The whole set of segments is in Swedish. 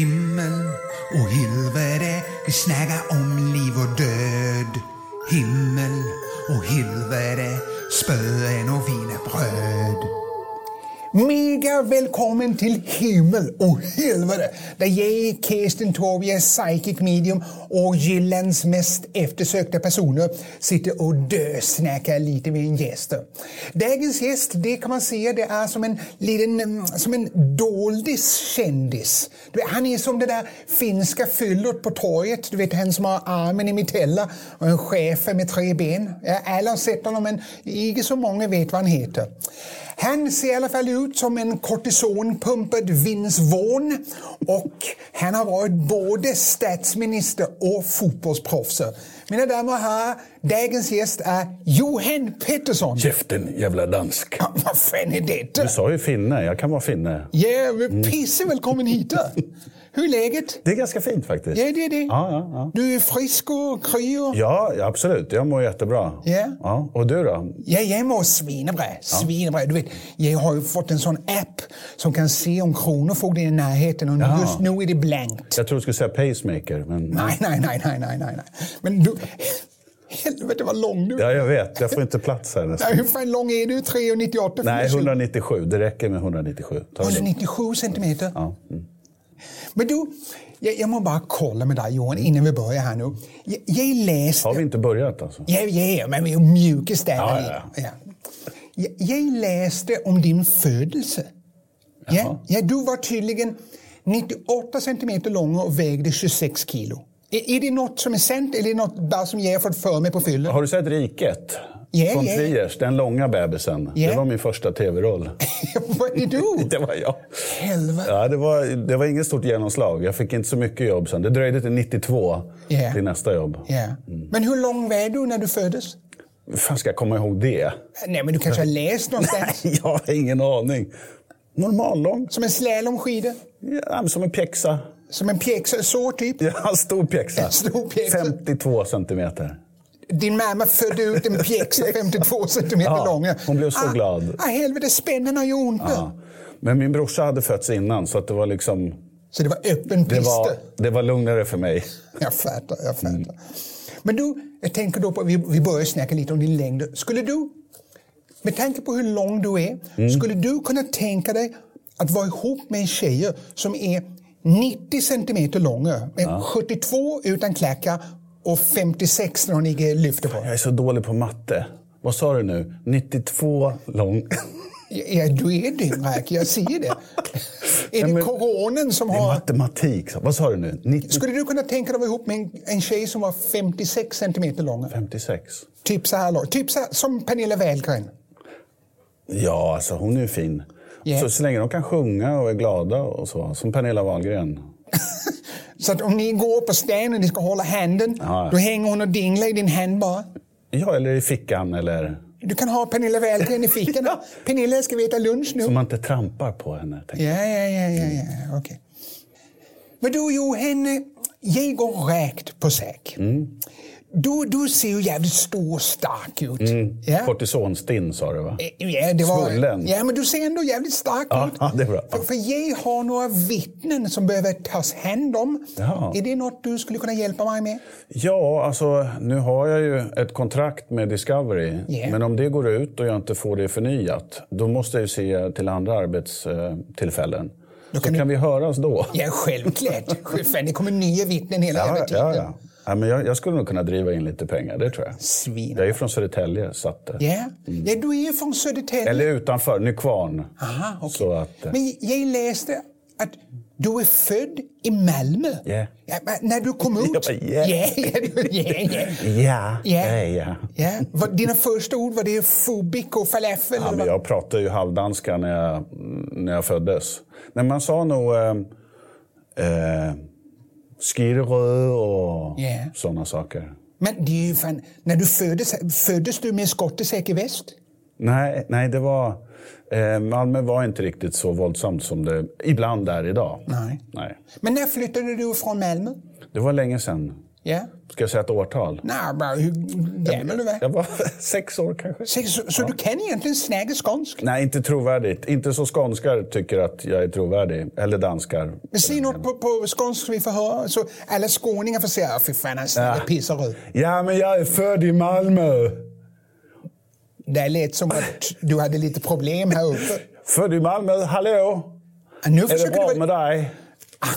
Himmel och helvete, vi snäga om liv och död. Himmel och helvete, spöen och wienerbröd. Mega välkommen till himmel och helvete där jag, Kirsten Torvje, psychic medium och Jyllands mest eftersökta personer sitter och dösnackar lite med en gäst. Dagens gäst, det kan man säga, det är som en liten, mm, som en doldis kändis. Du vet, Han är som det där finska fyllot på torget, du vet han som har armen i mitella och en schäfer med tre ben. Ja, Alla har sett honom men inte så många vet vad han heter. Han ser i alla fall ut som en kortisonpumpad Vince Vaughn och han har varit både statsminister och fotbollsproffs. Mina damer och herrar, dagens gäst är Johan Pettersson. Käften jävla dansk. Ja, vad fan är detta? Du sa ju finne, jag kan vara finne. Ja, men pisse välkommen hit. då. Hur är läget? Det är ganska fint faktiskt. Ja, det är det. Ja, ja, ja. Du är frisk och kry och... Ja, ja, absolut. Jag mår jättebra. Ja. Ja. Och du då? Ja, jag mår svinebra. svinebra. Du vet, jag har ju fått en sån app som kan se om Kronofogden är i närheten och Ja. just nu är det blankt. Jag tror du skulle säga pacemaker, men... Nej, nej, nej, nej, nej, nej. nej. Men du... Helvete vad lång du är. Ja, jag vet. Jag får inte plats här nästan. Nej, Hur fan lång är du? 3,98? Nej, 197. Det räcker med 197. Ta det lugnt. 197 Alltså, centimeter. Ja. mm. Men du, jag, jag må bara kolla med dig Johan innan vi börjar här nu. Jag, jag läste... Har vi inte börjat alltså? Ja, ja, men vi är mjukis där. Ja, ja, Ja. Jag, jag läste om din födelse. Ja, ja, du var tydligen 98 centimeter lång och vägde 26 kilo. Är, är det något som är sant eller är det något bara som jag har fått för mig på fyllan? Har du sett Riket? Ja, Von ja. Triers, den långa bebisen. Ja. Det var min första tv-roll. Vad är du? Det var jag. Helvete. Ja, det, var, det var inget stort genomslag. Jag fick inte så mycket jobb sen. Det dröjde till 92 Ja. till nästa jobb. Ja. Mm. Men hur lång var du när du föddes? Hur fan ska jag komma ihåg det? Nej, men du kanske har läst någonstans? Jag har ingen aning. Normallång. Som en slalomskida? Ja, som en pjäxa. Som en pjäxa? Så typ? Ja, en stor pjäxa. En stor pjäxa. 52 centimeter. Din mamma födde ut en pjäxa 52 centimeter Ja, lång. hon blev så glad. Ah, helvete, spännen har ju ont. Ja. Men min brorsa hade fötts innan, så att det var liksom... Så det var öppen Det piste. var, det var lugnare för mig. Jag fattar, jag Mm. fattar. Men du, jag tänker då på, vi, vi börjar snacka lite om din längd. Skulle du, med tanke på hur lång du är, Mm. skulle du kunna tänka dig att vara ihop med en tjej som är 90 centimeter lång, men 72 utan klackar och 56 när hon inte lyfter på? Jag är så dålig på matte. Vad sa du nu? 92 lång. Ja, du är dyngrak, jag ser det. är Ja, det men- coronan som Det är har... matematik. så. Vad sa du nu? 90, Skulle du kunna tänka dig att vara ihop med en, en tjej som var 56 centimeter lång? 56. Typ så här lång. Typ så här, som Pernilla Wahlgren. Ja, alltså hon är ju fin. Ja. Så, så länge de kan sjunga och är glada och så. Som Pernilla Wahlgren. Så att om ni går på stan och ni ska hålla handen, Ja. då hänger hon och dinglar i din hand bara. Ja, eller i fickan eller... Du kan ha Pernilla Wahlgren i fickan. Pernilla, ska vi äta lunch nu? Så man inte trampar på henne. tänker Ja, ja, ja, ja, ja. okej. Men du Johan, eh, jag går rakt på sak. Mm. Du, du ser ju jävligt stor och stark ut. jag. Ja. Kortisonstinn sa du va? Eh, Ja, det var, Mm. Svullen. ja, men du ser ändå jävligt stark Ja, ut. ja, det är bra. För, för jag har några vittnen som behöver tas hand om. Jaha. Är det något du skulle kunna hjälpa mig med? Ja, alltså nu har jag ju ett kontrakt med Discovery. Ja. Men om det går ut och jag inte får det förnyat, då måste jag ju se till andra arbetstillfällen. Då kan, kan så kan vi höras då. Ja, självklart. Fan, det kommer nya vittnen hela jävla ja, tiden. ja, ja. ja men jag, jag skulle nog kunna driva in lite pengar, det tror jag. Svin. Jag är ju från Södertälje, så att... eh, Ja. ja, du är från Södertälje. Eller utanför, Nykvarn. Aha, okej. Så att... eh, Men jag läste att du är född i Malmö. Ja. Ja, men när du kom Jag ut... bara, ja. ja, ja, du- ja, ja. Ja, Ja. ja, ja. Ja, vad- Dina första ord, var det fubik och falafel? Ja, eller men vad? jag pratade ju halvdanska när jag, när jag föddes. Men man sa nog eh, eh, skirrö och Ja. sådana saker. Men det är ju fan, när du föddes, föddes du med skottesäker väst? Nej, nej det var, eh, Malmö var inte riktigt så våldsamt som det ibland är idag. Nej. nej. Men när flyttade du från Malmö? Det var länge sedan. Ja. Ska jag säga ett årtal? Nej, bara hur gammal du är. Jag var sex år kanske. Så, så, så du kan egentligen snäga skånsk? Nej, inte trovärdigt. Inte så skånskar tycker att jag är trovärdig. Eller danskar. Säg något på, på skånsk vi får höra. Så alla skåningar får säga, "Ah, fy fan han snäger pissar ut. Ja, men jag är född i Malmö. Det lät som att du hade lite problem här uppe. Född i Malmö, hallå? Nu Är det försöker bra du med väl... dig?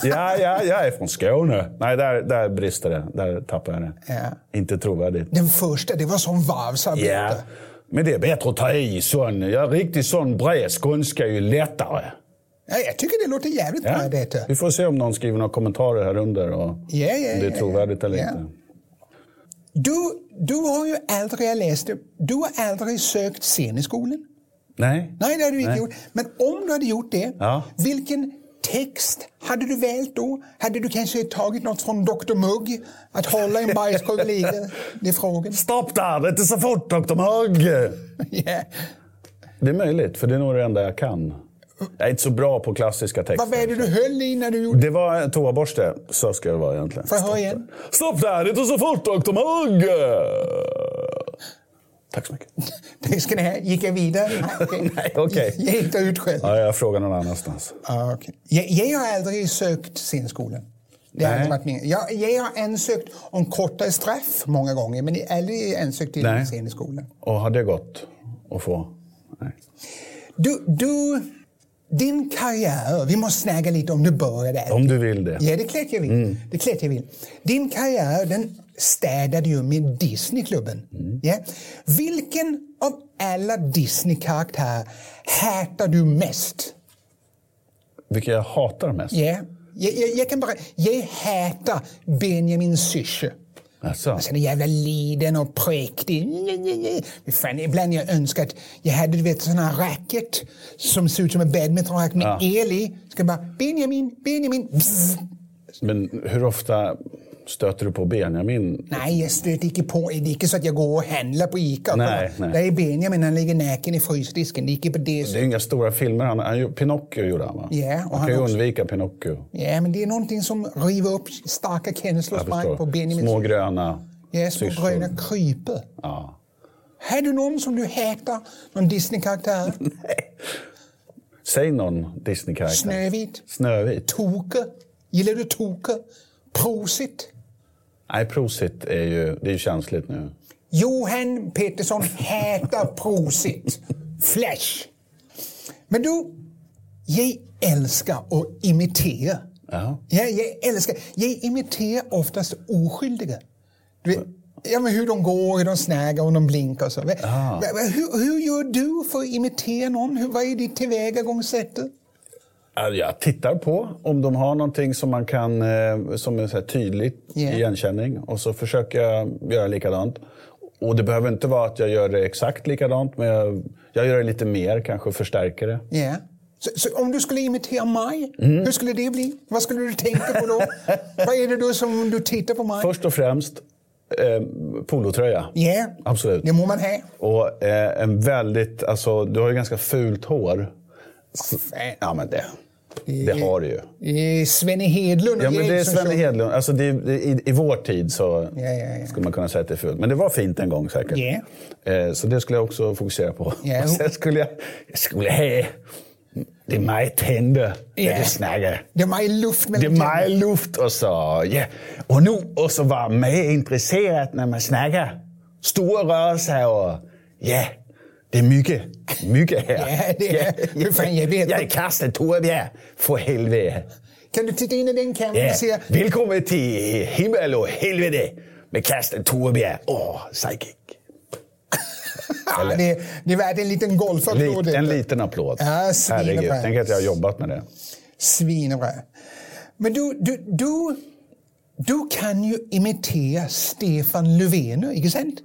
Ja, ja, jag är från Skåne. Nej, där, där brister det. Där tappar jag det. Ja. Inte trovärdigt. Den första, det var som Ja, varvsarbete. men det är bättre att ta i sån. Ja, riktigt sån bred skånska är ju lättare. Ja, jag tycker det låter jävligt Ja. bra detta. Vi får se om någon skriver några kommentarer här under och Ja, ja, om det ja, är trovärdigt eller ja. inte. Du, du har ju aldrig, jag läste, du har aldrig sökt sceneskolan. Nej. Nej, det hade du inte Nej. gjort. Men om du hade gjort det, Ja. vilken text hade du valt då? Hade du kanske tagit något från Dr Mugg? Att hålla en bajskorv lite? Det är frågan. Stopp där! Det är så fort, doktor Mugg! Ja. Det är möjligt, för det är nog det enda jag kan. Jag är inte så bra på klassiska texter. Vad var det du höll i när du gjorde Det var en toaborste. Så ska det vara egentligen. Får jag höra igen? Stopp där! Det är så fort, doktor Mugg! Tack så mycket. det? Ska ni ha? Gick jag vidare? Nej, okej. Jag gick där ut själv. Ja, jag frågar någon annanstans. Ah, okej. jag, jag har aldrig sökt scenskolan. Det har Nej. inte varit min. Jag, jag har ansökt om kortare straff många gånger, men jag har aldrig ansökt till Nej. scenskolan. Och har det gått att få? Nej. Du, du, din karriär, vi måste snacka lite om du börjar där. Om du vill det. Ja, det är klart jag vill. Det är klart jag vill. Din karriär den städade ju med Disneyklubben. Ja. Vilken av alla Disney-karaktärer hatar du mest? Vilka jag hatar mest? Ja. Jag, jag, jag kan bara... Jag hatar Benjamin Syrse. Alltså. Alltså den jävla liden och präktig. Fy Fan, ibland jag önskar att jag hade du vet, såna här racket som ser ut som en badmintonracket med Ja. el i. Ska bara Benjamin, Benjamin. Bzz. Men hur ofta stöter du på Benjamin? Nej, jag stöter inte på. Det är inte så att jag går och handlar på Ica. Nej, nej. Där är Benjamin, han ligger naken i frysdisken. Det är inte på det Det är sättet. ju inga stora filmer. Han, han, gjorde- Pinocchio gjorde han, va? Ja, och man han kan ju också. undvika Pinocchio. Ja, men det är någonting som river upp starka känslor Jag hos mig på förstår. Benjamin. Små gröna ja, små syrsor. gröna krypor. Ja. Har du någon som du hatar? Någon Disney-karaktär? Säg någon Disney-karaktär. Snövit? Snövit. Toke? Gillar du Toke? Prosit? Nej, Prosit är ju, det är ju känsligt nu. Johan Pettersson hatar Prosit. Flash. Men du, jag älskar att imitera. Ja. Ja, jag älskar. Jag imiterar oftast oskyldiga. Du vet, ja, men hur de går, hur de snägar, och de blinkar och så. Va- va- va- Hur, hur gör du för att imitera någon? Hur, vad är ditt tillvägagångssätt? Alltså, Jag tittar på om de har någonting som man kan eh, som är så här tydligt Ja. igenkänning och så försöker jag göra likadant. Och det behöver inte vara att jag gör det exakt likadant men jag, jag gör det lite mer kanske och förstärker det. Ja. Så, så om du skulle imitera mig, Mm. hur skulle det bli? Vad skulle du tänka på då? vad är det då som du tittar på mig? Först och främst eh, polotröja. Ja, Absolut. det må man ha. Och eh, en väldigt, alltså du har ju ganska fult hår. Fan. Ja men det, det har du ju. Det är Svenne Hedlund och Ja, men jag det är som Svenne kör. Hedlund. Alltså, det, är- i, I vår tid så liksom Ja, ja, ja. skulle man kunna säga att det är fult. Men det var fint en gång säkert. Ja. Eh, så det skulle jag också fokusera på. Ja. Och sen skulle jag... jag skulle, hej, det är mig tände Ja. när du snackar. Det är mig luft Det är mellan tänderna. mig luft och så... Ja. Och nu och så var mig intresserad när man snackar. Stora rörelser och... Ja, det är mycket. Mycket här. Ja, det är- Hur fan, jag vet. Jag är Karsten Torebjerg, för helvete. Kan du titta in i den kameran Ja, och se? Välkommen till Himmel och helvete med Karsten Torebjerg och Psychic. Ja, Ah, det, det är värt en liten golfapplåd. Lit, en liten applåd. Ja, svinebra. Herregud, tänk att jag har jobbat med det. Svinbra. Men du, du, du, du kan ju imitera Stefan Löfven, inte sant?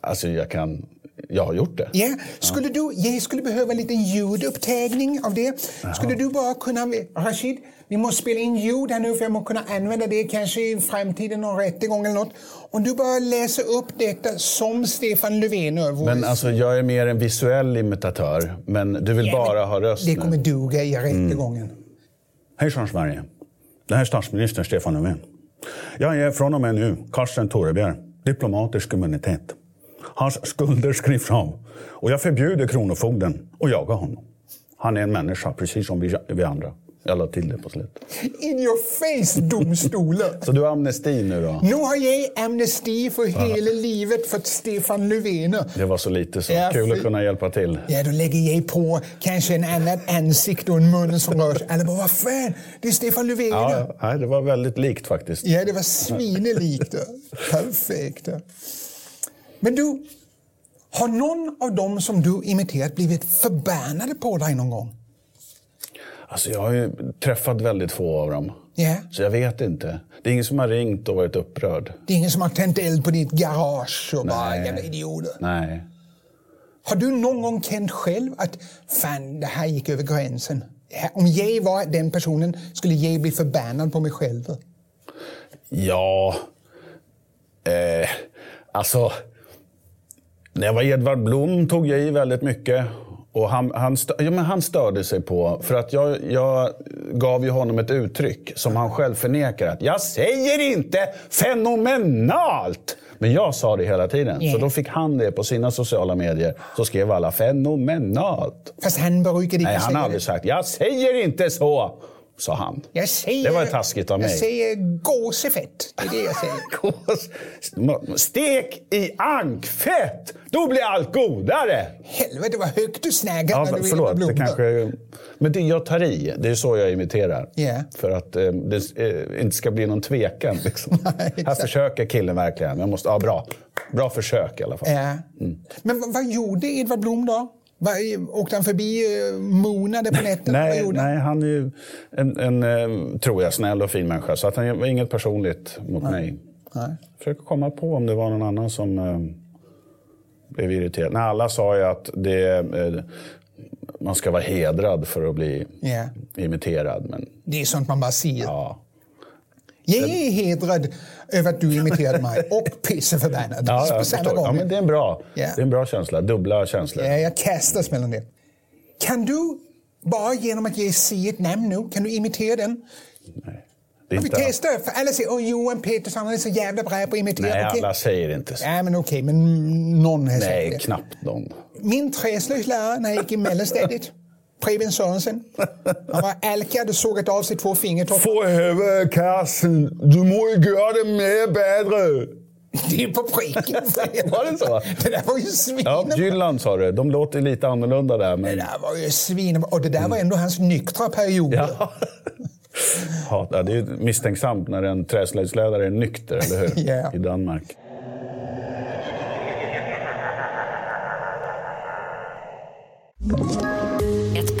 Alltså, jag kan... Jag har gjort det. Ja, skulle du, jag skulle behöva en liten ljudupptagning av det. Skulle du bara kunna... Rashid, vi måste spela in ljud här nu för jag måste kunna använda det kanske i framtiden, någon rättegång eller något. Om du bara läser upp detta som Stefan Löfven gör, vore- Men alltså, jag är mer en visuell imitatör. Men du vill Ja, men bara ha röst Det nu. kommer duga i rättegången. Hejsan Sverige. Det här är statsminister Stefan Löfven. Jag ger från och med nu Karsten Torebjer diplomatisk immunitet. Hans skulder skrivs av och jag förbjuder Kronofogden att jaga honom. Han är en människa, precis som vi, vi andra. Jag la till det på slutet. In your face, domstolen! Så du har amnesti nu då? nu har jag amnesti för hela livet för Stefan Löfven. Det var så lite så. Ja, Kul att fy- kunna hjälpa till. Ja, då lägger jag på kanske en annan ansikte och en mun som rör sig. Alla bara, vad fan, det är Stefan Löfven. Ja, Ja, nej, det var väldigt likt faktiskt. det var svinelikt. Perfekt. Men du, har någon av dem som du imiterat blivit förbannade på dig någon gång? Alltså, jag har ju träffat väldigt få av dem. Ja. Så jag vet inte. Det är ingen som har ringt och varit upprörd. Det är ingen som har tänt eld på ditt garage och bara, Nej. jävla idioter. Nej. Har du någon gång känt själv att fan, det här gick över gränsen? Ja, Om jag var den personen skulle jag bli förbannad på mig själv. Ja... Eh, alltså... När jag var Edvard Blom tog jag i väldigt mycket. Och han, han, stö- ja, men han störde sig på... För att jag, jag gav ju honom ett uttryck som han själv förnekar. Att jag säger inte fenomenalt! Men jag sa det hela tiden. Så då fick han det på sina sociala medier. Så skrev alla fenomenalt. Fast han brukade inte Nej, han säga har det. aldrig sagt jag säger inte så, sa han. Jag säger, Det var ju taskigt av mig. Jag säger gåsefett. Det är det jag säger. Gås- Stek i ankfett, då blir allt godare! Helvete vad högt du snaggade Ja, när du ville förlåt, med det blommor. kanske... Men det jag tar i, det är så jag imiterar. Ja. För att eh, det eh, inte ska bli någon tvekan. Liksom. Nej, Här exakt. försöker killen verkligen. Jag måste, ja, bra. bra försök i alla fall. Ja. Men vad, vad gjorde Edvard Blom då? Vad, åkte han förbi eh, Monade på nätterna? vad Nej, gjorde han? nej, han är ju en, en eh, tror jag, snäll och fin människa. Så att han var inget personligt mot mig. Nej. Försöker komma på om det var någon annan som eh, blev irriterad. Nej, alla sa ju att det, eh, man ska vara hedrad för att bli Ja. imiterad. Men Det är sånt man bara säger. ja. Jag är hedrad över att du imiterade mig och pisseförbannad. Ja, på jag samma förstår. gång. ja, men det är en bra, Ja. det är en bra känsla. Dubbla känslor. Ja, jag kastas mellan det. Kan du, bara genom att jag säger ett namn nu, kan du imitera den? Det är Vi inte, testar, för alla säger åh Johan Petersson han är så jävla bra på att imitera. nej, Okej. alla säger inte så. Ja, men okej, men någon har sagt Nej, det. knappt någon. Min träslöjdslärare när jag gick i mellanstadiet, Preben Sörensen, han var alkad och sågat av sig två fingertoppar. För helvete, Karsten. Du måste göra det mer bättre. Det är på pricken. Var det så? Det där var ju svin. Ja, Jylland sa du. De låter lite annorlunda där. Det Men... där var ju svin. Och det där var ändå hans nyktra period. Ja. Ja, det är ju misstänksamt när en träslöjdslärare är nykter, eller hur? Ja. I Danmark. Ett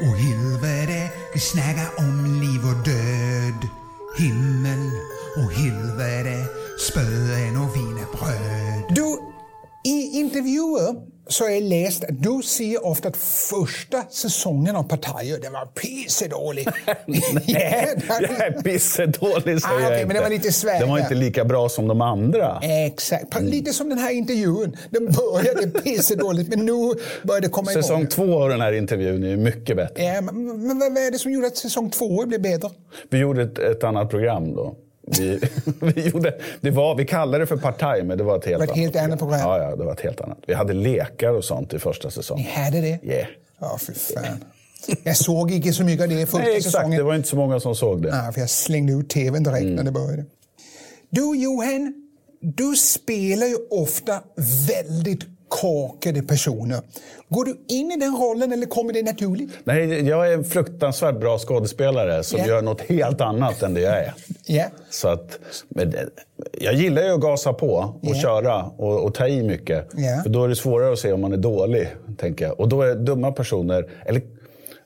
och helvete, vi snackar om liv och död. Himmel och helvete, spöen och wienerbröd. Du, i intervjuer så har jag läst att du säger ofta att första säsongen av Partaj, den var pissedålig. ja, Jag den- är pissedålig, Ah, säger jag okej, inte. men det var lite svär Den var där. Eh, inte lika bra som de andra. Exakt. Pa- Lite som den här intervjun. Den började pissedåligt men nu börjar det komma igång. Säsong två av den här intervjun är ju mycket bättre. Ja, Eh, men, men vad vad är det som gjorde att säsong två blev bättre? Vi gjorde ett, ett annat program då. Vi, vi, gjorde, det var, vi kallade det för Partaj, men det var ett helt, var ett helt annat program. Ja, ja, det var ett helt annat. Vi hade lekar och sånt i första Ni säsongen. hade det? Ja, Yeah. fy fan. Jag såg inte så mycket av det i första Nej, exakt. säsongen. Det var Mm. inte så många som såg det. Ja, för jag slängde ut tvn direkt när det började. Du Johan, du spelar ju ofta väldigt korkade personer. Går du in i den rollen eller kommer det naturligt? Nej, jag är en fruktansvärt bra skådespelare som Ja. gör något helt annat än det jag är. Ja. Så att, men det, jag gillar ju att gasa på och Ja. köra och, och ta i mycket. Ja. För då är det svårare att se om man är dålig, tänker jag. Och då är dumma personer... Eller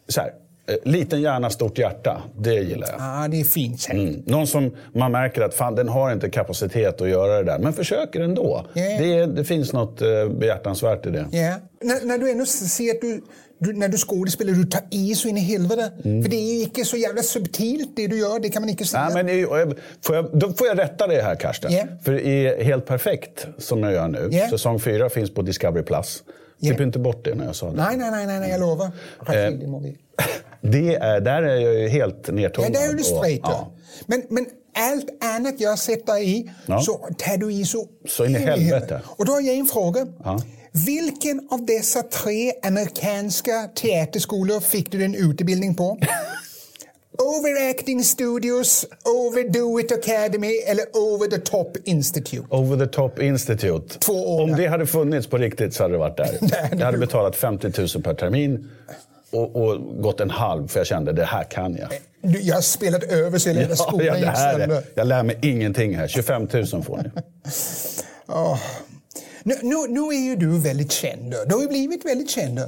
så här, Eh, Liten hjärna, stort hjärta. Det gillar jag. Ja, Ah, det är fint sagt. Mm. Någon som man märker att fan, den har inte kapacitet att göra det där, men försöker ändå. Ja, ja. Det, är- det finns något eh, behjärtansvärt i det. Ja. När, när du ändå ser att du, du när du skådespelar, du tar i så in i helvete. För det är inte så jävla subtilt det du gör, det kan man inte säga. Mm. Nej, men, i- och jag- får jag, då får jag rätta det här, Karsten. Ja. För i Helt perfekt, som jag gör nu, Ja. säsong fyra finns på Discovery+. Plus. Ja. Klipp inte bort det när jag sa det. nej, nej, nej, nej, nej, Mm. jag lovar. Eh, Rashid, det må vi- det är, där är jag ju helt Ja, nertonad. det är du och- straight. ja. ja. Men, men allt annat jag sätter i Ja. så tar du i så... Så in i helvete. Och då har jag en fråga. Ja. Vilken av dessa tre amerikanska teaterskolor fick du din utbildning på? Overacting Studios, Overdo It Academy eller Over the Top Institute? Over the Top Institute. Två år, Om ja. det hade funnits på riktigt så hade det varit där. jag hade betalat 50 000 per termin och, och gått en halv för jag kände det här kan jag. Du, jag har spelat över så jag lärde Ja, skolan ja, det gick här är, sönder. jag lär mig ingenting här. 25 000 får ni. Ja. Nu, nu, nu är ju du väldigt känd. Du har ju blivit väldigt känd.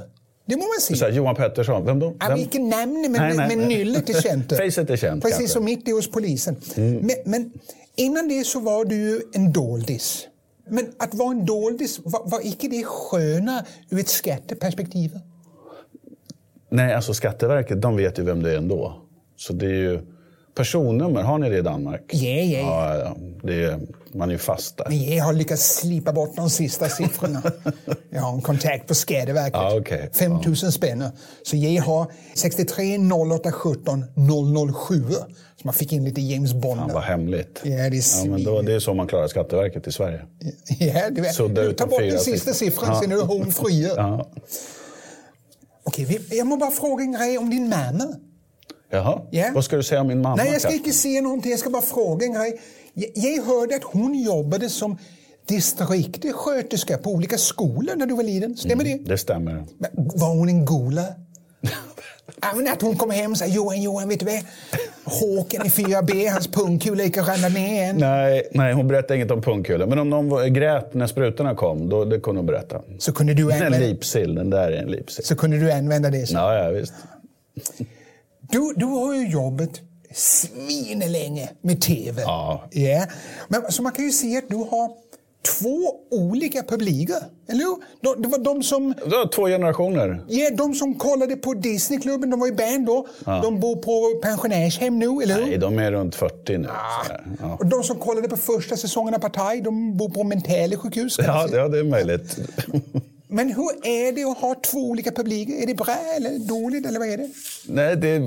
Det må man Så säga. här, Johan Pettersson, vem då? Ja, Vem? vilket namn, men, Nej, nej. men nyllet är känt. Facet är Precis känt, kanske. Mm. som mitt är hos polisen. Men, men innan det så var du ju en doldis. Men att vara en doldis, var, var icke det sköna ur ett skatteperspektiv? Nej, alltså Skatteverket, de vet ju vem det är ändå. Så det är ju... Personnummer, har ni det i Danmark? Ja, ja, ja. Ja, ja. Det är, man är ju fast där. Men jag har lyckats slipa bort de sista siffrorna. Jag har en kontakt på Skatteverket. Ja, okej. 5 000 spänn. Så jag har 63 08 17 007. Så man fick in lite James Bond. Fan vad hemligt. Ja, det är ja, men då, Det är så man klarar Skatteverket i Sverige. Ja, du vet. Sudda Du ut tar de bort fyra den sista siffrorna. siffran, Ja. sen är du home free. Ja. Okej, vi- jag må bara fråga en grej om din mamma. Jaha, Ja. vad ska du säga om min mamma? Nej, jag ska Katja? inte se någonting. Jag ska bara fråga en grej. Jag, jag hörde att hon jobbade som distriktssköterska på olika skolor när du var liten. Stämmer det? Det stämmer. Men, var hon en gola? Ja, men att hon kom hem och sa Johan, Johan, vet du vad? Håkan i 4B, hans pungkula gick och ramlade ner en. Nej, nej, hon berättade inget om pungkulan. Men om någon var- grät när sprutorna kom, då, det kunde hon berätta. Så kunde du En använda, lipsill, den där är en lipsill. så kunde du använda det. Så. Ja, ja, visst. Du, du har ju jobbet svinlänge med tv. Ja. Men, så man kan ju se att du har två olika publiker. Eller hur? De, det var de som... Det var två generationer. Ja, de som kollade på Disneyklubben, de var i band då. De bor på pensionärshem nu, eller hur? Nej, de är runt 40 nu. Ah. sådär. Ja. Och de som kollade på första säsongen av Partaj, de bor på mentala sjukhus. kan jag Ja, säga. ja, det är möjligt. Men hur är det att ha två olika publiker? Är det bra eller dåligt? Eller vad är det? Nej, det,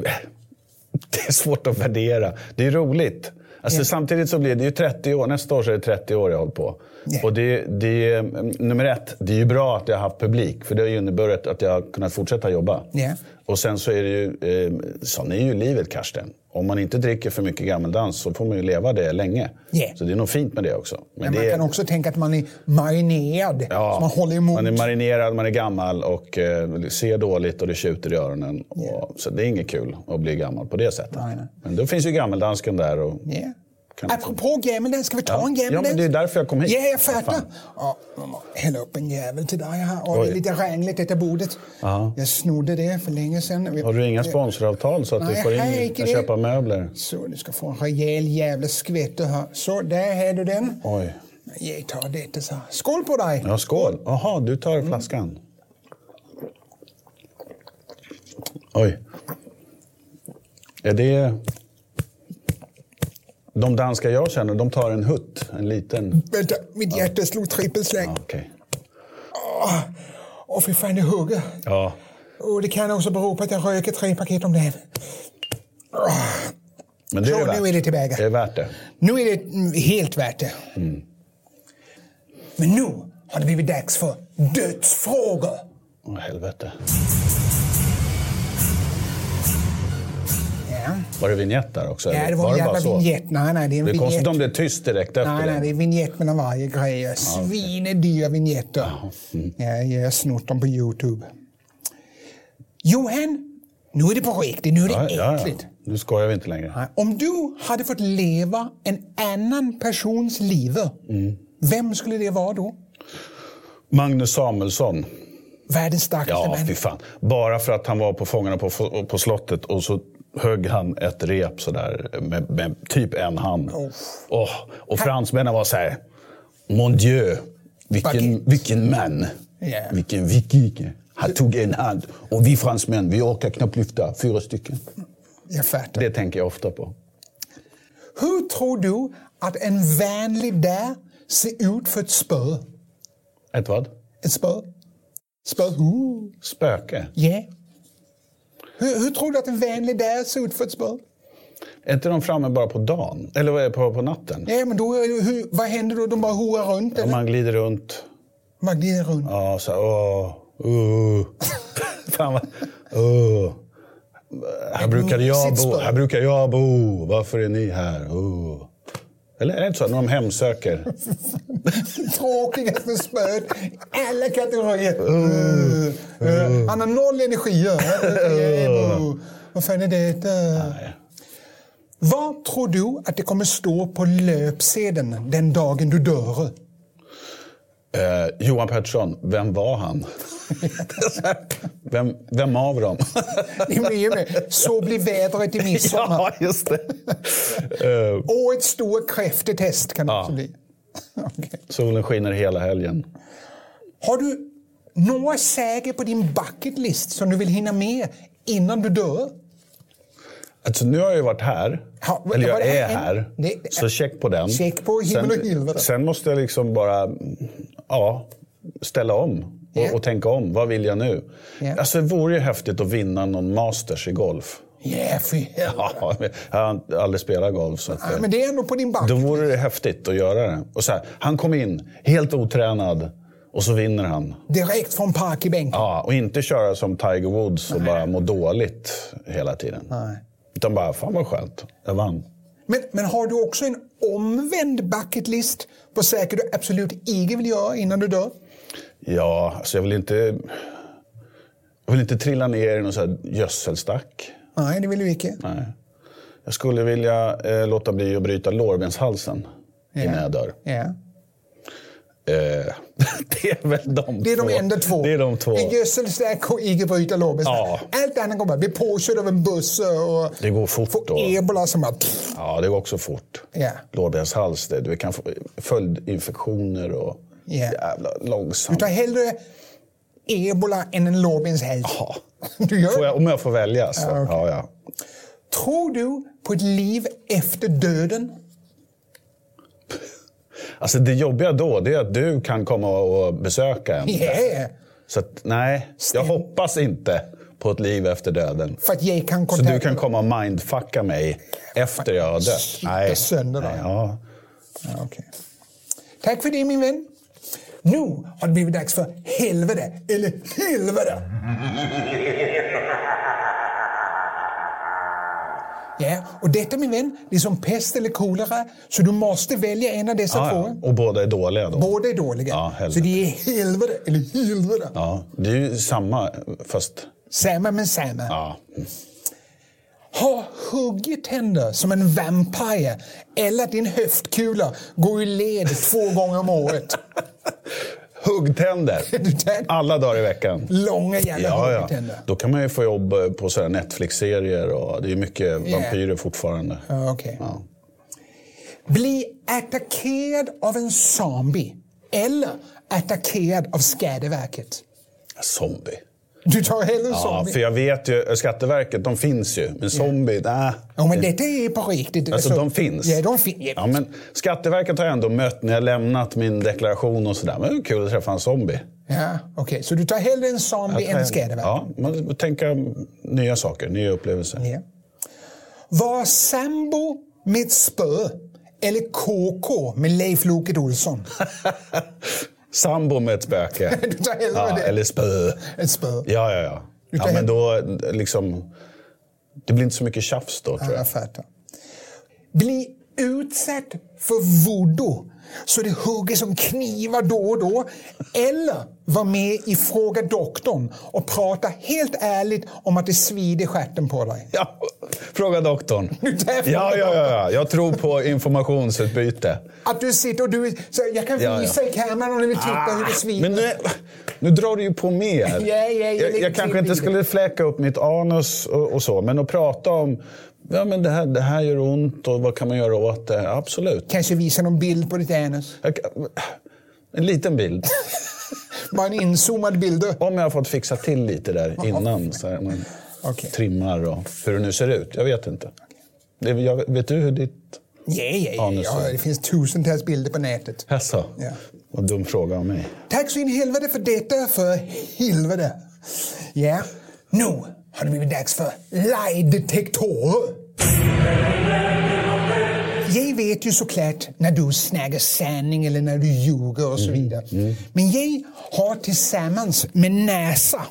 det är svårt att värdera. Det är roligt. Alltså, Samtidigt så blir det ju 30 år. Nästa år så är det 30 år jag håller på. Ja. Och det, det, mm, nummer ett, det är ju bra att jag har haft publik. För det har ju inneburit att jag har kunnat fortsätta jobba. Ja. Och sen så är det ju, eh, sån är ju livet Karsten. Om man inte dricker för mycket gammeldans så får man ju leva det länge. Ja. Så det är nog fint med det också. Men Men det man är- kan också tänka att man är marinerad. Ja, så man håller emot. man är marinerad, man är gammal och eh, ser dåligt och det tjuter i öronen. Och, så det är inget kul att bli gammal på det sättet. Nej, nej. Men då finns ju gammeldansken där. Och, Yeah. Kan- Apropå gammeldans, ska vi ta Ja. en gammeldans? Ja, men det är därför jag kom hit. Ja, jag fattar. Fan. Ja, jag må hälla upp en jävel till dig här. Och det är Oj. lite rangligt detta bordet. Ja. Jag snodde det för länge sedan. Vi- Har du inga sponsoravtal så att Nej, du får hej, in, kan det- köpa möbler? Så, du ska få en rejäl jävla skvätt du här. Så, där har du den. Oj. Jag tar detta så här. Skål på dig! Ja, skål. Jaha, du tar Mm. flaskan. Oj. Är det... De danska jag känner, de tar en hutt. En liten. Vänta, mitt hjärta slog trippelsläng. Ja, Åh, okej. fy fan, det hugger. Ja. Och det kan också bero på att jag röker tre paket om dagen. Men det är Så, det värt. nu är det tillbaka. Det är värt det. Nu är det mm, helt värt det. Mm. Men nu har det blivit dags för dödsfrågor. Åh, helvete. Ja, Var det vinjett där också? ja eller? det var en bara jävla så? vignett. Nej, nej, det är en Det är konstigt vignett. om det är tyst direkt efter Nej, nej, det det. är vignett mellan varje grej. Svinedyra vignetter. mm. Ja, jag har snott dem på Youtube. Johan, nu är det på riktigt. Nu är Ja, det ja, ja. äckligt. Nu skojar vi inte längre. Nej, Om du hade fått leva en annan persons liv, vem skulle det vara då? Magnus Samuelsson. Världens starkaste Ja, man. fy fan. Bara för att han var på Fångarna på, på slottet och så högg han ett rep sådär med, med typ en hand. Åh, och fransmännen var så här, Mon Dieu, vilken, Baguette. vilken man. Ja. Vilken viking. Han tog en hand. Och vi fransmän, vi orkar knappt lyfta fyra stycken. Jag fattar. Det tänker jag ofta på. Hur tror du att en vänlig där ser ut för ett spö? Ett vad? Ett spö? Spö? Ooh. Spöke. Yeah. Hur, hur tror du att en vänlig där ser ut för ett spö? Är inte de framme bara på dagen? Eller vad är det, på, på natten? Ja, men då, är det- hur, vad händer då? De bara hoar runt? Om Eller? man glider runt. Man glider runt. Ja, så här, åh, uh. Fan vad, uh. Här brukade jag bo, här brukar jag bo, varför är ni här? Uh. Eller är det inte så, när de hemsöker? Tråkigaste spöet i alla kategorier. Uh, Mm. uh. Han har noll energier. Uh. Vad fan är det? Uh. Nej. Vad tror du att det kommer stå på löpsedeln den dagen du dör? Eh, Johan Pettersson, vem var han? vem, vem av dem? Det är mer med. Så blir vädret i midsommar. ja, just det. Eh, Och ett stort kräftetest kan det också bli. Okej. solen skiner hela helgen. Har du några säger på din bucket list som du vill hinna med innan du dör? Alltså, nu har jag ju varit här. Ja, men eller jag var det är en- här. det- det- så check på den. Check på himmel sen, och helvete. Sen måste jag liksom bara ja, ställa om och, Ja. och tänka om. Vad vill jag nu? Ja. Alltså, det vore ju häftigt att vinna någon masters i golf. Yeah, för helvete. Ja, men jag har aldrig spelat golf. Så att, Ja, Men det är ändå på din bucket. Då vore det häftigt att göra det. Och så här, han kom in helt otränad och så vinner han. Direkt från park i bänken. Ja, och inte köra som Tiger Woods och bara må dåligt hela tiden. Nej. Utan bara, fan vad skönt, jag vann. Men, men har du också en omvänd bucket list på saker du absolut inte vill göra innan du dör? Ja, alltså jag vill inte... Jag vill inte trilla ner i någon så här gödselstack. Nej, det vill du inte. Nej. Jag skulle vilja eh, låta bli att bryta lårbenshalsen innan jag dör. Ja. Eh, det är väl de Det är två. de enda två. Det är de två. En gödselstack och icke bryta lårbens. Ja. Allt annat kommer bara bli påkörd av en buss och Det går fort få då. ebola som bara... Ja, det går också fort. Ja. Lårbenshals, det. Du kan få följdinfektioner och... Ja. Jävla Du långsamt. tar hellre ebola än en lårbenshälsa. Ja. Du gör Får det. jag, om jag får välja så. Ja, okej. ja, ja. Tror du på ett liv efter döden? Alltså det jobbiga då, det är att du kan komma och besöka en. Yeah. Så att, nej, jag hoppas inte på ett liv efter döden. För att jag kan Så kontakta... du kan komma och mindfucka mig efter jag har dött? Shit, jag sönder dig. nej, ja. Ja, okej. Tack för det min vän. Nu har det blivit dags för helvete, eller helvete. Ja, och detta min vän, det är som pest eller kolera, så du måste välja en av dessa Ja, ja. två. Och båda är dåliga då? Båda är dåliga. Ja, helvete. så det är helvete, eller helvete. Ja, det är ju samma, fast... Samma men samma. Ja. Ha huggit tänder som en vampire eller att din höftkula går i led två gånger om året. Huggtänder! Du tänker- Alla dagar i veckan. Långa jävla Ja, ja. huggtänder. Då kan man ju få jobb eh, på sådana Netflix-serier och det är ju mycket vampyrer fortfarande. Ja, okej. Ja. Bli attackerad av en zombie eller attackerad av Skatteverket. Zombie. Du tar hellre en Ja, zombie. för jag vet ju, eh, Skatteverket, de finns ju. Men zombie, nej. Ja, men detta är på riktigt. Alltså, de finns. Ja, de finns. Ja, men Skatteverket har jag ändå mött när jag lämnat min deklaration och sådär. Men det är kul att träffa en zombie. Ja, okej. Så du tar hellre en zombie än Skatteverket? Ja, man får tänka nya saker, nya upplevelser. Ja. Var sambo med ett spö eller KK med Leif Loket Olsson? Sambo med ett spöke. Du tar hellre ja, det. Eller spö. Ett spö. Ja, ja, ja. ja Utan- men då liksom... Det blir inte så mycket tjafs då, tror jag. Jag fattar. Bli utsatt för voodoo så det hugger som knivar då och då. Eller var med i Fråga doktorn och prata helt ärligt om att det svider i stjärten på dig. Ja, fråga doktorn. Nu tar jag fråga Ja, ja, ja, ja. Jag tror på informationsutbyte. Att du sitter och du... Så jag kan Ja, ja. visa i kameran om ni vill titta hur det svider. Ah. Men nu är, Nu drar du ju på mer. ja, jag, lite jag kanske inte vidare. skulle fläka upp mitt anus och, och så, men att prata om ja, men det, här, det här gör ont och vad kan man göra åt det? Absolut. Kanske visa någon bild på ditt anus. Jag, kan- en liten bild. Bara en inzoomad bild. du. Om jag har fått fixa till lite där innan. Så här, man Okej. Trimmar och hur det nu ser ut. Jag vet inte. Det, jag, vet du hur ditt... Ja, ja, ja, Anus. ja. Det finns tusentals bilder på nätet. Jaså? Ja. Vad dum fråga av mig. Tack så in i helvete för detta, för helvete. Ja, nu har det blivit dags för live-detektorer. Jag vet ju såklart när du snäger sanning eller när du ljuger och så Mm, vidare. Men jag har tillsammans med NASA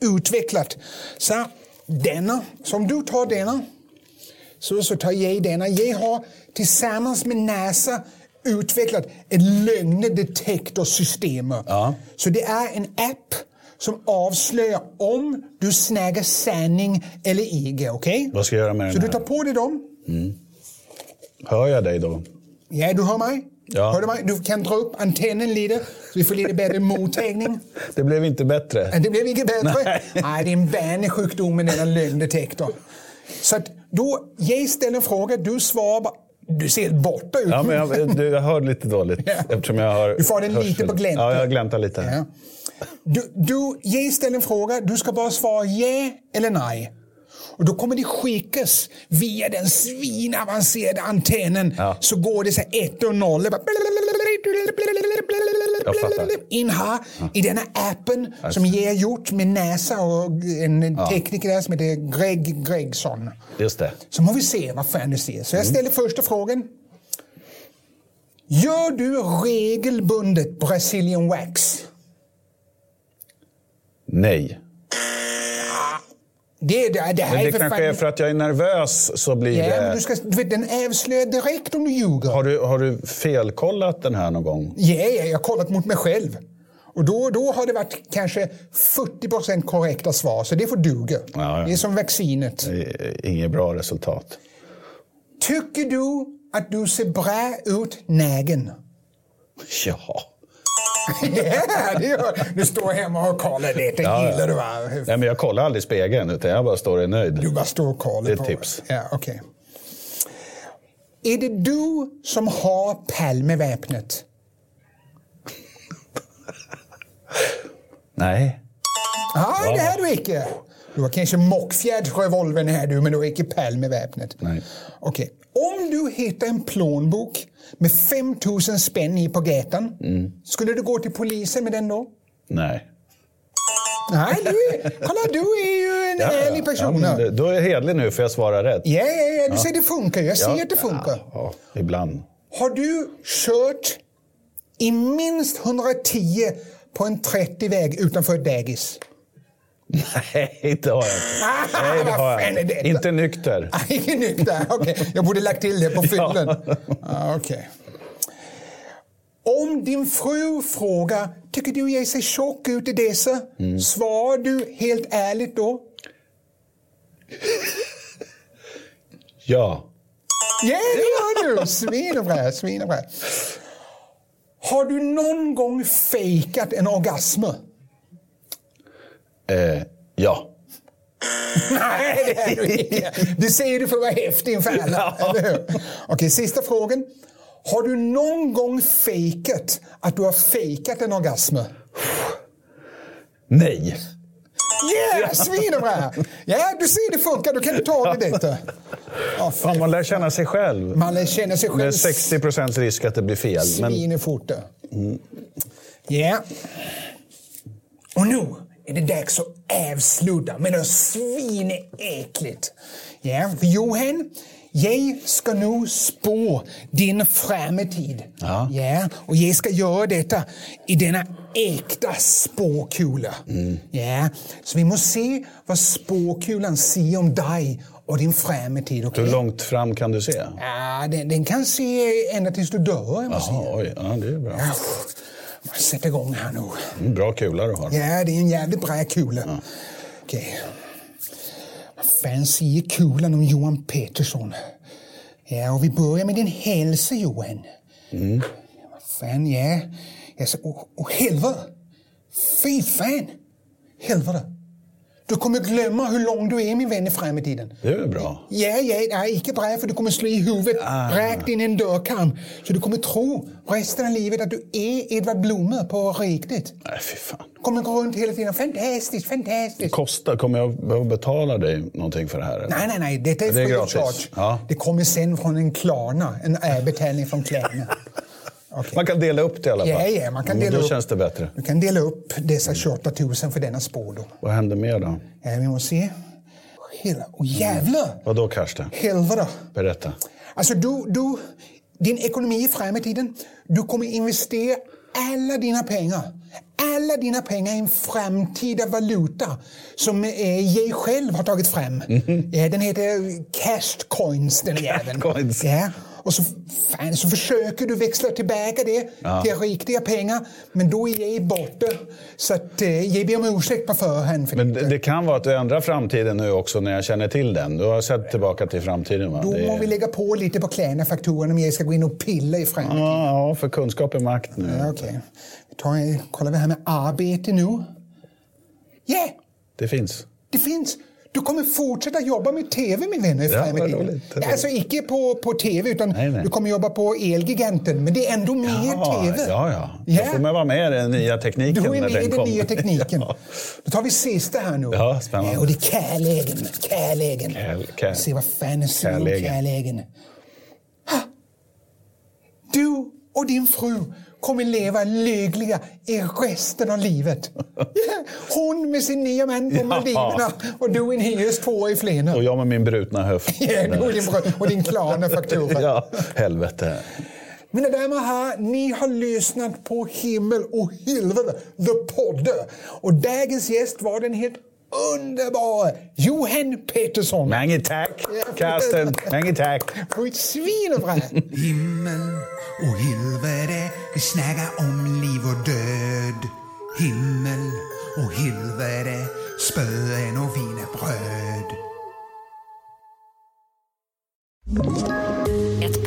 utvecklat så denna, som du tar denna, så, så tar jag denna. Jag har tillsammans med NASA utvecklat ett lögnedetektorsystem. Ja. Så det är en app som avslöjar om du snäger sanning eller ej. Okej? Vad ska jag göra med Så den du här? tar på dig dem. Hör jag dig då? Ja, du hör mig? Ja. Hör du mig? Du kan dra upp antennen lite så vi får lite bättre mottagning. Det blev inte bättre. Men Det blev inget bättre. Nej. Nej, det är en vanlig sjukdom med denna lögndetektor. Så att då, jag ställer en fråga, du svarar bara. Du ser helt borta ut. Ja, men jag, du, jag hör lite dåligt. Ja. Eftersom jag har Du får den lite hörsel. på glänt. Ja, jag gläntar lite. Ja. Du, du, jag ställer en fråga, du ska bara svara ja eller nej. Och då kommer det skickas via den svinavancerade antennen. Ja. Så går det så här ett och noll. Det bara- Jag fattar. In här, i denna appen som jag har gjort med NASA och en tekniker där som heter Greg Gregson. Just det. Så må vi se vad fan du ser. Så jag ställer första frågan. Gör du regelbundet Brazilian wax? Nej. Det, det, det här Men det är för kanske fan... är för att jag är nervös så blir Ja, men det... du ska, du vet, den avslöjar direkt om du ljuger. Har, du, har du felkollat den här någon gång? Ja, ja, jag har kollat mot mig själv. Och då, då har det varit kanske 40 korrekta svar, så det får duga. Ja, ja. Det är som vaccinet. Det är Inget bra resultat. Tycker du att du ser bra ut nägen? Ja. ja, det gör Nu står jag hemma och kollar det. Det Ja, ja. gillar du va? Nej, men jag kollar aldrig i spegeln, utan jag bara står och är nöjd. Du bara står och kollar Det är ett på. tips. Ja, okej. Är det du som har Palmeväpnet? Nej. Nej, det är du icke. Du har kanske mockfjärdsrevolvern här du, men du har icke Palmeväpnet. Nej. Okej. Om du hittar en plånbok med 5 000 spänn i på gatan, Mm. skulle du gå till polisen med den då? Nej. Nej, du, kolla du är ju en ärlig Ja, person. men Ja, du- då är jag hederlig nu, för jag svarar rätt. ja, ja, du ser det funkar. Jag ser Ja. att det funkar. Ja, ibland. Har du kört i minst 110 på en 30-väg utanför ett dagis? Nej, inte har jag inte. Nej, det har Ah, Vad fan jag är inte. detta? Inte nykter. Ah, Ingen nykter? Okej, jag borde lagt till det på fyllen. Ja. Ah, okej. Om din fru frågar, tycker du jag ser tjock ut i dessa? Svarar du helt ärligt då? Ja. Ja, det gör du! Svinbra, svinbra. Har du någon gång fejkat en orgasm? Eh, ja. Nej, det är du inte. Det säger du för att vara häftig inför alla. eller hur? Okej, sista frågan. Har du någon gång fejkat att du har fejkat en orgasm? Nej. Yeah, svinbra! Ja, du ser det funkar. Du kan du ta det detta. Ja, Fan, man lär känna sig själv. man känner sig Det är själv 60 procents risk att det blir fel. Men svin i foten. Ja. Och nu är det dags att avsluta med något svinäckligt. Ja, för Johan, jag ska nu spå din framtid. Ja. och jag ska göra detta i denna äkta spåkula. Mm. Ja, så vi måste se vad spåkulan säger om dig och din framtid. okej? hur långt fram kan du se? Ja, den, den kan se ända tills du dör. Jag måste säga. Jaha, oj. Ja, det är bra. Ja, man sätter igång här nu. Mm, Bra kula du har. Ja, det är en jävligt bra kula. Okej. Vad fan säger kulan om Johan Pettersson? Ja, och vi börjar med din hälsa, Johan. Vad fan, ja. Jag sa, åh, åh helvete! Fy fan! Helvete. Du kommer glömma hur lång du är min vän i fram i tiden. Det är väl bra? Ja, ja, nej, inte bra för du kommer slå i huvudet Ah, rakt in i en dörrkarm. Så du kommer tro resten av livet att du är Edvard Blomme på riktigt. Nej, fy fan. Du kommer gå runt hela tiden. Fantastiskt, fantastiskt. Kostar, kommer jag behöva betala dig någonting för det här? Eller? Nej, nej, nej. Detta är, Det är free of gratis. charge. Ja. Det kommer sen från en Klarna, en avbetalning från Klarna. Okej. Man kan dela upp det i alla fall. Ja, ja, man kan Men dela då upp. känns det bättre. Du kan dela upp dessa 28 000 för denna spådom. Vad händer mer då? Ja, vi måste se. Hela, oh, jävlar! Vad då, Karsten? Helvete! Berätta. Alltså, du, du, din ekonomi i framtiden, du kommer investera alla dina pengar alla dina pengar i en framtida valuta som eh, jag själv har tagit fram. Mhm. Ja, den heter cash coins, den jäveln. coins. Ja. Och så, fan, så försöker du växla tillbaka det till riktiga pengar, men då är jag borta. Så att, eh, jag ber om ursäkt på förhand. För Men det, det kan vara att du ändrar framtiden nu också när jag känner till den. Du har sett tillbaka till framtiden va? Då Det är- må vi lägga på lite på klädnafaktoren om jag ska gå in och pilla i framtiden. Ja, ja, för kunskap är makt nu. Ja, Okej. Vi tar- kollar vi här med arbete nu. Ja, Det finns. det finns. Du kommer fortsätta jobba med tv, min vän. i Ja, framtiden. vad roligt, vad roligt. Alltså icke på, på tv, utan Nej, nej. du kommer jobba på Elgiganten. Men det är ändå mer tv. ja, ja. Ja. Då får man vara med i den nya tekniken Du är när med i den kommer. nya tekniken. Ja. Då tar vi sista här nu. Ja, spännande. Ja, Och det är kärleken. Kärleken. Kärl- kärl- Se vad fan är sur om kärleken. kärleken. Ha! Du och din fru kommer leva lyckliga i resten av livet. Hon med sin nya man på Maldiverna och du i en hyres tvåa i Flen. Och jag med min brutna höft. Ja, du och din, fru- och din Klarna-faktura. ja, helvete. Mina damer och herrar, ni har lyssnat på Himmel och helvete, The Podd. Och dagens gäst var den helt underbara Johan Pettersson. Mange tack, Karsten. Mange tack. På ett svin och bra. Himmel och helvete, vi snackar om liv och död. Himmel och helvete, spöen och wienerbröd. Ett